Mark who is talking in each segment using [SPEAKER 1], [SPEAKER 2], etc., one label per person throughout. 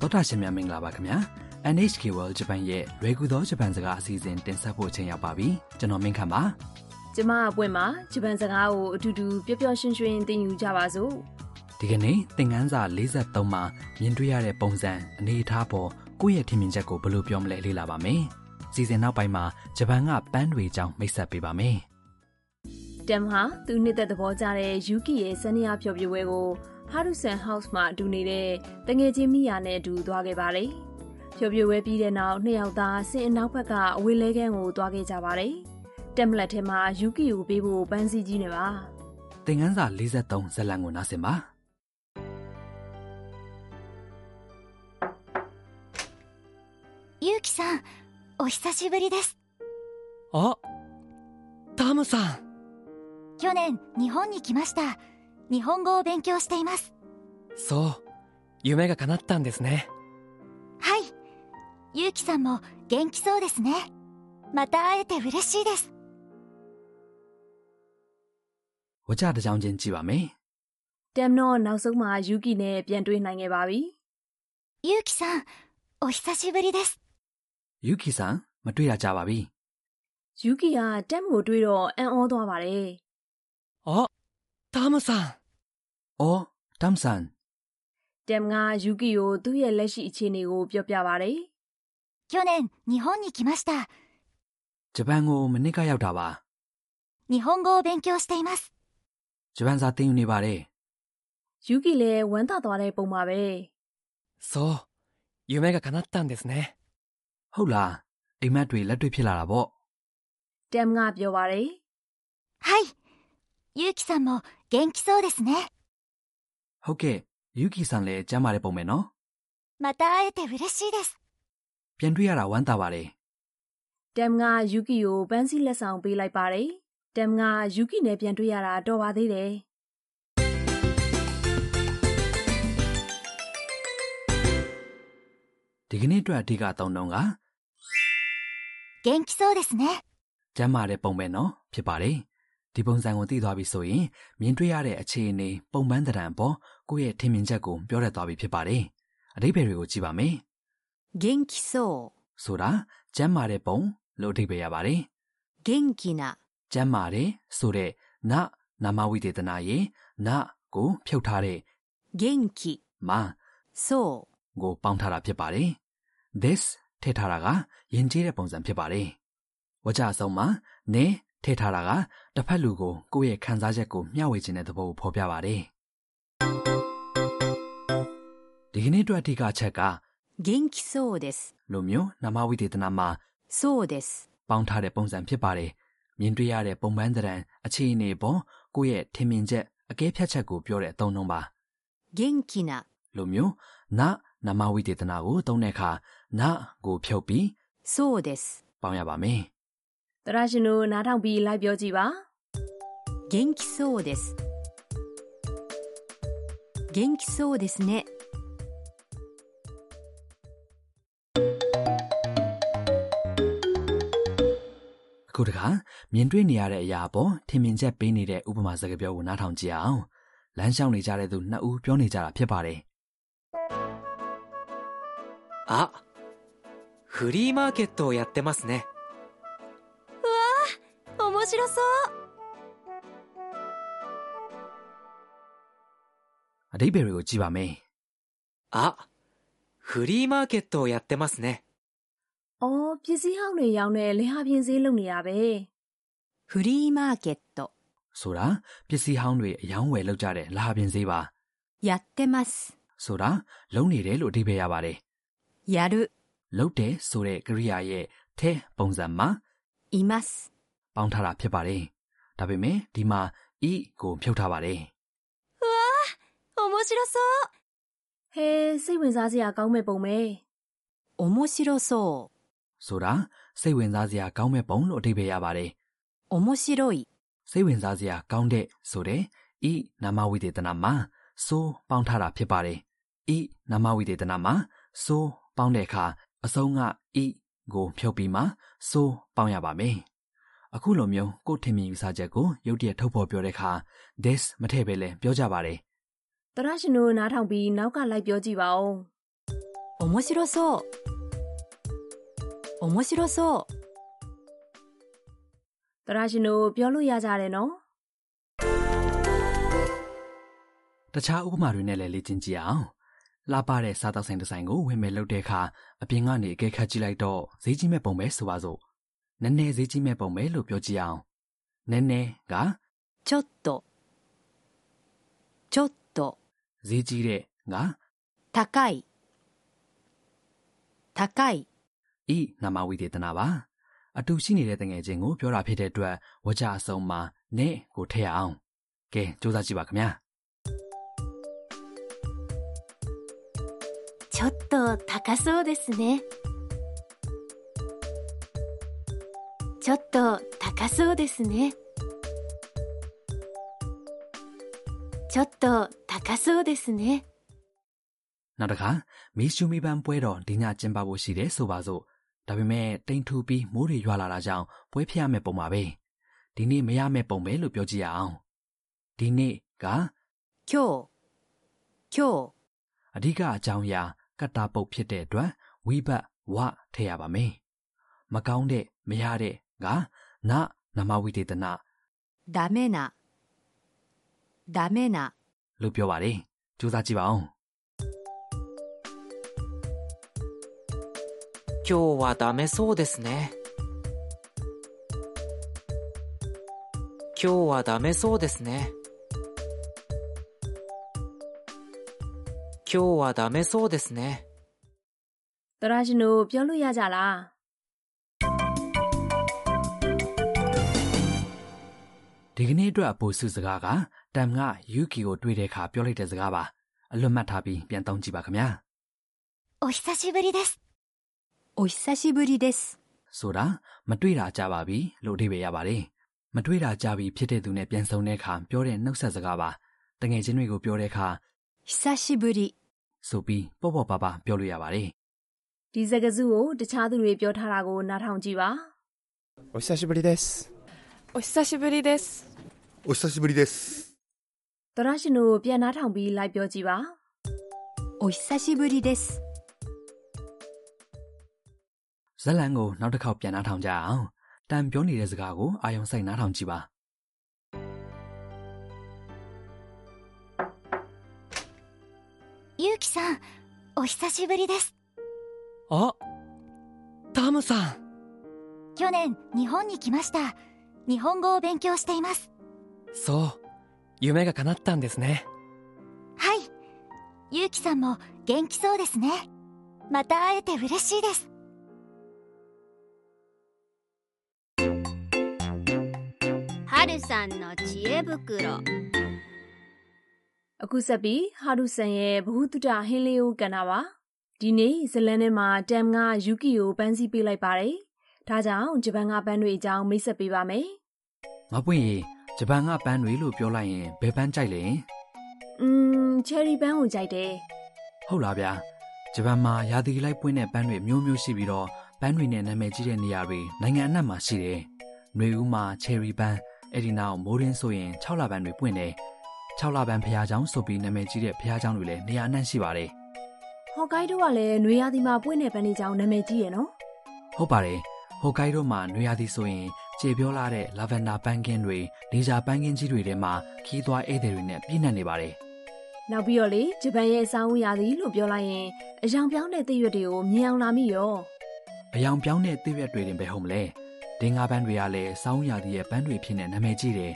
[SPEAKER 1] တော်တာရှင်များမင်္ဂလာပါခင်ဗျာ NHK World Japan ရဲ့လွယ်ကူသောဂျပန်စကားအစီအစဉ်တင်ဆက်ဖို့အချိန်ရောက်ပါပြီကျွန်တော်မင်းခမ်းပါ
[SPEAKER 2] ကျမအပွင့်မှာဂျပန်စကားကိုအတူတူပျော်ပျော်ရွှင်ရွှင်သင်ယူကြပါစို့
[SPEAKER 1] ဒီကနေ့သင်ခန်းစာ43မှာမြင်တွေ့ရတဲ့ပုံစံအနေအထားပေါ်ကိုယ့်ရဲ့ထင်မြင်ချက်ကိုဘယ်လိုပြောမလဲလေ့လာပါမယ်စီစဉ်နောက်ပိုင်းမှာဂျပန်ကပန်းတွေကြောင်းမိတ်ဆက်ပေးပါမယ်
[SPEAKER 2] တမ်ဟာသူနှစ်သက်သဘောကျတဲ့ယူကီရဲ့ဇနီးယားဖျော်ဖြေပွဲကိုဟာရုဆန်ဟောက်စ်မှာအတူနေတဲ့တငယ်ချင်းမိယာနဲ့အတူသွားခဲ့ပါတယ်ဖျော်ဖြေပွဲပြီးတဲ့နောက်နှစ်ယောက်သားဆင်အနောက်ဘက်ကအဝေးလဲကန်းကိုသွားခဲ့ကြပါတယ်တမ်မလက်ထဲမှာယူကီကိုပေးဖို့ပန်းစည်းကြီးနေပါ
[SPEAKER 1] သင်ခန်းစာ43ဇာတ်လမ်းကိုနားဆင်ပါ
[SPEAKER 3] ゆうきさん、お久しぶりです。
[SPEAKER 1] အော်タムさん
[SPEAKER 3] 去年、日本に来ました。日本語を勉強しています。
[SPEAKER 4] そう夢が叶ったんですね
[SPEAKER 3] はい。ゆうきさんも元気そうですね。また会えて嬉しいです。
[SPEAKER 1] ဝကြတစ်ကြောင်ချင်းကြည့်ပါမယ်
[SPEAKER 2] တမ်တော့နောက်ဆုံးမှာယူကီနဲ့ပြန်တွေ့နိုင်ခဲ့ပါပြီ
[SPEAKER 3] ゆうきさん、お久しぶりです。
[SPEAKER 1] ယူကီဆန်မတွေ့ရကြပါဘူး
[SPEAKER 2] ယူကီကတမ်ကိုတွေ့တော့အံ့ဩသွားပါတယ်
[SPEAKER 4] あタムさん
[SPEAKER 1] အော်တမ်ဆန်
[SPEAKER 2] တမ်ကယူကီကိုသူ့ရဲ့လက်ရှိအခြေအနေကိုပြောပြပါတယ်
[SPEAKER 3] 去年、日本に来ました。
[SPEAKER 1] ဂျပန်ကိုမနစ်ကရောက်တာပါ
[SPEAKER 3] 日本語を勉強しています。
[SPEAKER 1] ဂျပန်စာသင်ယူနေပါတယ်
[SPEAKER 2] ။ယူကီလည်းဝမ်းသာသွားတဲ့ပုံပါပဲ
[SPEAKER 4] そう夢が叶ったんですね
[SPEAKER 1] ဟုတ်လားအိမ်မက်တွေလက်တွေ့ဖြစ်လာတာပေါ့
[SPEAKER 2] ။တမ်ကပြောပါတယ်
[SPEAKER 3] はい。ゆうきさんも元気そうですね。
[SPEAKER 1] ဟုတ်ကဲ့ယူကီဆန်လည်းကျမ်းမာတဲ့ပုံပဲနော်
[SPEAKER 3] また会えて嬉しいです。
[SPEAKER 1] ပြန်တွေ့ရတာဝမ်းသာပါတယ်
[SPEAKER 2] ။တမ်ကယူကီကိုပန်းစည်းလက်ဆောင်ပေးလိုက်ပါတယ်။တမ်ကယူကီနဲ့ပြန်တွေ့ရတာတော်ပါသေးတယ်
[SPEAKER 1] ဒီကနေ့အတွက်အဓိကအသုံးတော့က
[SPEAKER 3] 元気そうですね。
[SPEAKER 1] ကျမ်းမာတဲ့ပုံပဲနော်ဖြစ်ပါတယ်ဒီပုံစံကိုသိသွားပြီဆိုရင်မြင်တွေ့ရတဲ့အခြေအနေပုံပန်းသဏ္ဍာန်ပေါ်ကိုယ့်ရဲ့ထင်မြင်ချက်ကိုပြောတတ်သွားပြီဖြစ်ပါတယ်အဓိပ္ပာယ်တွေကိုကြည့်ပါမယ်
[SPEAKER 5] 元気そう、
[SPEAKER 1] ဆိုတာကျမ်းမာတဲ့ပုံလို့အဓိပ္ပာယ်ရပါတယ်
[SPEAKER 5] 元気な、
[SPEAKER 1] ကျမ်းမာတယ်ဆိုတဲ့နနာမဝိသေသနာရဲ့နကိုဖြုတ်ထားတဲ့
[SPEAKER 5] 元気、
[SPEAKER 1] မ
[SPEAKER 5] そ
[SPEAKER 1] ကိုပေါင်းထားတာဖြစ်ပါတယ်။ this ထည့်ထားတာကယဉ်ကျေးတဲ့ပုံစံဖြစ်ပါတယ်။ဝကြအဆုံးမှာနင်းထည့်ထားတာကတစ်ဖက်လူကိုကိုယ့်ရဲ့ခံစားချက်ကိုမျှဝေခြင်းတဲ့သဘောကိုဖော်ပြပါတယ်။ဒီကနေ့အတွက်အဓိကအချက်က
[SPEAKER 5] う、元気そうです。
[SPEAKER 1] လူမျိုးနာမဝိသေသနာမှာ
[SPEAKER 5] そうです。
[SPEAKER 1] ပေါင်းထားတဲ့ပုံစံဖြစ်ပါတယ်။မြင်တွေ့ရတဲ့ပုံပန်းသဏ္ဍာန်အခြေအနေပေါ်ကိုယ့်ရဲ့ထင်မြင်ချက်အကဲဖြတ်ချက်ကိုပြောတဲ့အသုံးနှုန်းပါ
[SPEAKER 5] 元気な、
[SPEAKER 1] လိုမျိုးနနာမဝိသေသနာကိုသုံးတဲ့အခါနကိုဖြုတ်ပြီး
[SPEAKER 5] そうです。
[SPEAKER 1] ပေါင်းရပါမယ်
[SPEAKER 2] ။သရရှင်တို့နားထောင်ပြီးလိုက်ပြောကြည့်ပါ
[SPEAKER 5] 元気そうです。元気そうですね。
[SPEAKER 1] ။အခုတခါမြင်တွေ့နေရတဲ့အရာပေါ်ထင်မြင်ချက်ပေးနေတဲ့ဥပမာစကားပြောကိုနားထောင်ကြည့်အောင်။လမ်းလျှောက်နေကြတဲ့သူနှစ်ဦးပြောနေကြတာဖြစ်ပါတယ်
[SPEAKER 4] あフリーマーケットをやってますね
[SPEAKER 3] 面白そう。
[SPEAKER 1] ။အဓိပ္ပာယ်တွေကိုကြည့်ပါမယ်
[SPEAKER 4] あフリーマーケットをやってますね
[SPEAKER 2] ။အော်ပစ္စည်းဟောင်းတွေရောင်းတဲ့လင်ဟာပြင်ဈေးလုပ်နေတာပဲ
[SPEAKER 5] フリーマーケット、
[SPEAKER 1] ။ဆိုတာပစ္စည်းဟောင်းတွေအယောင်းဝယ်လောက်ကြတဲ့လာပြင်ဈေးပါ
[SPEAKER 5] やってます。
[SPEAKER 1] ။ဆိုတာလုံနေတယ်လို့အဓိပ္ပာယ်ရပါတယ်။
[SPEAKER 5] やる、
[SPEAKER 1] လုတ်တယ်ဆိုတဲ့ကရိယာရဲ့ထဲပုံစံမှာ
[SPEAKER 5] います。
[SPEAKER 1] ပေါင်းထားတာဖြစ်ပါတယ်။ဒါပေမဲ့ဒီမှာ e ကိုဖြုတ်ထားပါတယ်
[SPEAKER 3] 面白そう。
[SPEAKER 2] ။ဟဲစိတ်ဝင်စားစရာကောင်းမဲ့ပုံပဲ
[SPEAKER 5] 面白そ
[SPEAKER 1] ။ဆိုတာစိတ်ဝင်စားစရာကောင်းမဲ့ပုံလို့အဓိပ္ပာယ်ရပါတယ်
[SPEAKER 5] う、面白い、
[SPEAKER 1] ။စိတ်ဝင်စားစရာကောင်းတဲ့ဆိုတဲ့ e နာမဝိသေသနာမှာဆိုပေါင်းထားတာဖြစ်ပါတယ်။ e နာမဝိသေသနာမှာဆိုပေါင်းတဲ့အခါအဆုံးက e ကိုဖြုတ်ပြီးမှဆိုပေါင်းရပါမယ်။အခုလိုမျိုးကိုယ့်ထင်မြင်ယူဆချက်ကိုရုတ်တရက်ထုတ်ဖော်ပြောတဲ့အခါ this မထည့်ပဲလဲပြောကြပါတယ်။
[SPEAKER 2] ။သရရှင်တို့နားထောင်ပြီးနောက်ကလိုက်ပြောကြည့်ပါဦး
[SPEAKER 5] 面面白そう面白そう
[SPEAKER 2] တရာရှင်တို့ပြောလို့ရကြတယ်နော်
[SPEAKER 1] တခြားဥပမာတွေနဲ့လည်းလေ့ကျင့်ကြည့်အောင်လှပတဲ့စားတောက်ဆိုင်တစ်ဆိုင်ကိုဝင်မဲ့လုပ်တဲ့အခါအပြင်ကနေအကဲခတ်ကြည့်လိုက်တော့ဈေးကြီးမဲ့ပုံပဲဆိုပါစို့နည်းနည်းဈေးကြီးမဲ့ပုံပဲလို့ပြောကြည့်အောင်နည်းနည်းက
[SPEAKER 5] ちょっとちょっと
[SPEAKER 1] ဈေးကြီးတဲ့က
[SPEAKER 5] 高い高い
[SPEAKER 1] ဤနာမဝိသေသနာပါအတူရှိနေတဲ့တငယ်ချင်းကိုပြောတာဖြစ်တဲ့အတွက်ဝကြအဆုံးမှာနဲ့ကိုထည့်အောင်ကဲစူးစမ်းကြည့်ပါခင်ဗျာ
[SPEAKER 3] ちょっと高そうですねちょっと高そうですねちょっと高そうですね
[SPEAKER 1] နောက်တစ်ခါမီးရှူမီပန်းပွဲတော်ဒီညကျင်းပဖို့ရှိတယ်ဆိုပါစို့ဒါပေမဲ့တိမ်ထူပြီးမိုးတွေရွာလာတာကြောင့်ပွဲဖျက်ရမယ့်ပုံပါပဲဒီနေ့မရမယ့်ပုံပဲလို့ပြောကြည့်ရအောင်ဒီနေ့က
[SPEAKER 5] 今日今
[SPEAKER 1] အဓိကအကြောင်းအရာကတ္တာပုတ်ဖြစ်တဲ့အတွက်ဝိဘတ်ဝထည့်ရပါမယ်မကောင်းတဲ့မရတဲ့ကနနမဝိတေသန
[SPEAKER 5] 日ダメなダメな
[SPEAKER 1] လို့ပြောပါတယ်စူးစမ်းကြည့်ပါအောင်
[SPEAKER 4] 今日はダメそうですね今日はダメそうですね今日はダメそうですね
[SPEAKER 2] တရာရှင်တို့ပြောလို့ရကြလား
[SPEAKER 1] ဒီကနေ့အတွက်အပိုစုစကားကတမ်ကယူကီကိုတွေ့တဲ့အခါပြောလိုက်တဲ့စကားပါအလွတ်မှတ်ထားပြီးပြန်သုံးကြည့်ပါခင်ဗျာ
[SPEAKER 3] お久しぶりです
[SPEAKER 5] お久しぶりです
[SPEAKER 1] ဆိုတာမတွေ့တာကြပါပြီလို့အဓိပ္ပာယ်ရပါတယ်မတွေ့တာကြပြီဖြစ်တဲ့သူနဲ့ပြန်ဆုံတဲ့အခါပြောတဲ့နှုတ်ဆက်စကားပါတငယ်ချင်းတွေကိုပြောတဲ့အခါ
[SPEAKER 5] 久しぶり
[SPEAKER 1] ဆိုပြီးပေါ့ပေါ့ပါပါပြောလို့ရပါတယ်
[SPEAKER 2] ဒီစကားစုကိုတခြားသူတွေပြောထားတာကိုနားထောင်ကြည့်ပါ
[SPEAKER 6] お久しぶりです
[SPEAKER 7] お久しぶりです。
[SPEAKER 8] お久しぶりです。
[SPEAKER 2] တရာရှင်တို့ပြန်နားထောင်ပြီးလိုက်ပြောကြည့်ပါ
[SPEAKER 5] お久しぶりです
[SPEAKER 1] ဇက်လန်ကိုနောက်တစ်ခေါက်ပြန်နားထောင်ကြအောင်တန်ပြောနေတဲ့စကားကိုအာယုံစိုက်နားထောင်ကြည့်ပါ
[SPEAKER 3] ゆうきさんお久しぶりです
[SPEAKER 4] あダムさん
[SPEAKER 3] 去年日本に来ました日本語を勉強しています
[SPEAKER 4] そう夢が叶ったんですね
[SPEAKER 3] はいゆうきさんも元気そうですねまた会えて嬉しいです
[SPEAKER 9] はるさんの知恵袋
[SPEAKER 2] အခုဆက်ပြီးဟာရုဆန်ရဲ့ဘ ഹു တုတဟင်းလေးကိုကန်တာပါဒီနေ့ဇတ်လန်ထဲမှာတမ်ကယူကီကိုပန်းစီပေးလိုက်ပါတယ်ဒါကြောင့်ဂျပန်ကပန်းတွေအကြောင်းမိတ်ဆက်ပေးပါမယ်
[SPEAKER 1] ငါပွင့်ရင်ဂျပန်ကပန်းတွေလို့ပြောလိုက်ရင်ဘယ်ပန်းကြိုက်လဲ
[SPEAKER 2] อืมချယ်ရီပန်းကိုကြိုက်တယ်
[SPEAKER 1] ဟုတ်လားဗျာဂျပန်မှာရာသီလိုက်ပွင့်တဲ့ပန်းတွေအမျိုးမျိုးရှိပြီးတော့ပန်းတွေနဲ့နာမည်ကြီးတဲ့နေရာတွေနိုင်ငံအနှံ့မှာရှိတယ်။နေဦးမှာချယ်ရီပန်းအဲ့ဒီနောက်မိုးရင်းဆိုရင်6လပန်းတွေပွင့်တယ်။6လပန်းဖျားချောင်းဆိုပြီးနာမည်ကြီးတဲ့ဖျားချောင်းတွေလည်းနေရာအနှံ့ရှိပါတယ်။
[SPEAKER 2] ဟော့ကိုင်ဒိုကလည်းနွေရာသီမှာပွင့်တဲ့ပန်းတွေကြောင့်နာမည်ကြီးရယ်နော်
[SPEAKER 1] ဟုတ်ပါတယ်ဟိုကိုက်ဒိုမှာနွေရာသီဆိုရင်ခြေပြောလာတဲ့လာဗန်ဒါပန်းကင်းတွေဒေဂျာပန်းကင်းကြီးတွေထဲမှာခီးသွွားဧည့်သည်တွေနဲ့ပြည့်နှက်နေပါတယ်
[SPEAKER 2] နောက်ပြီးတော့လေဂျပန်ရဲ့အစားအဦးရာသီလို့ပြောလိုက်ရင်အယောင်ပြောင်းတဲ့သစ်ရွက်တွေကိုမြင်အောင်လာမိရော
[SPEAKER 1] အယောင်ပြောင်းတဲ့သစ်ရွက်တွေတင်ပဲဟုတ်မလဲဒင်္ဂါပန်းတွေကလည်းစောင်းရာသီရဲ့ပန်းတွေဖြစ်နေနာမည်ကြီးတယ်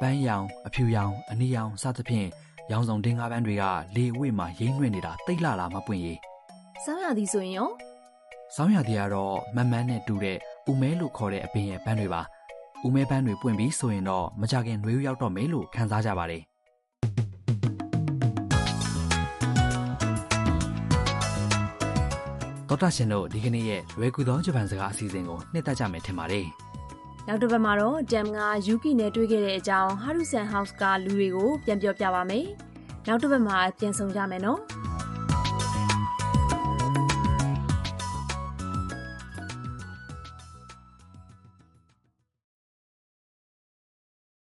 [SPEAKER 1] ပန်းရောင်အဖြူရောင်အနီရောင်စသဖြင့်ရောင်စုံဒင်္ဂါပန်းတွေကလေဝိမှာရိမ့်နှွေ့နေတာတိတ်လာလာမပွင့်ရေ
[SPEAKER 2] စောင်းရာသီဆိုရင်ရော
[SPEAKER 1] စောင်းရာသီကတော့မန်မန်းနဲ့တူတဲ့ဥမဲလို့ခေါ်တဲ့အပင်ရဲ့ပန်းတွေပါဥမဲပန်းတွေပွင့်ပြီးဆိုရင်တော့မကြခင်နွေဦးရောက်တော့မယ်လို့ခန်းစားကြပါတယ် တော်တာရှင်တို့ဒီကနေ့ရဲ့လွယ်ကူသောဂျပန်စကားအစီအစဉ်ကိုနှစ်သက်ကြမယ်ထင်ပါတယ်
[SPEAKER 2] နောက်တစ်ပတ်မှာတော့တမ်ကယူကီနဲ့တွေ့ခဲ့တဲ့အကြောင်းဟာရုဆန်ဟောက်စ်ကလူတွေကိုပြန်ပြောပြပါမယ်နောက်တစ်ပတ်မှာပြန်ဆောင်ကြမယ်နော်
[SPEAKER 1] ။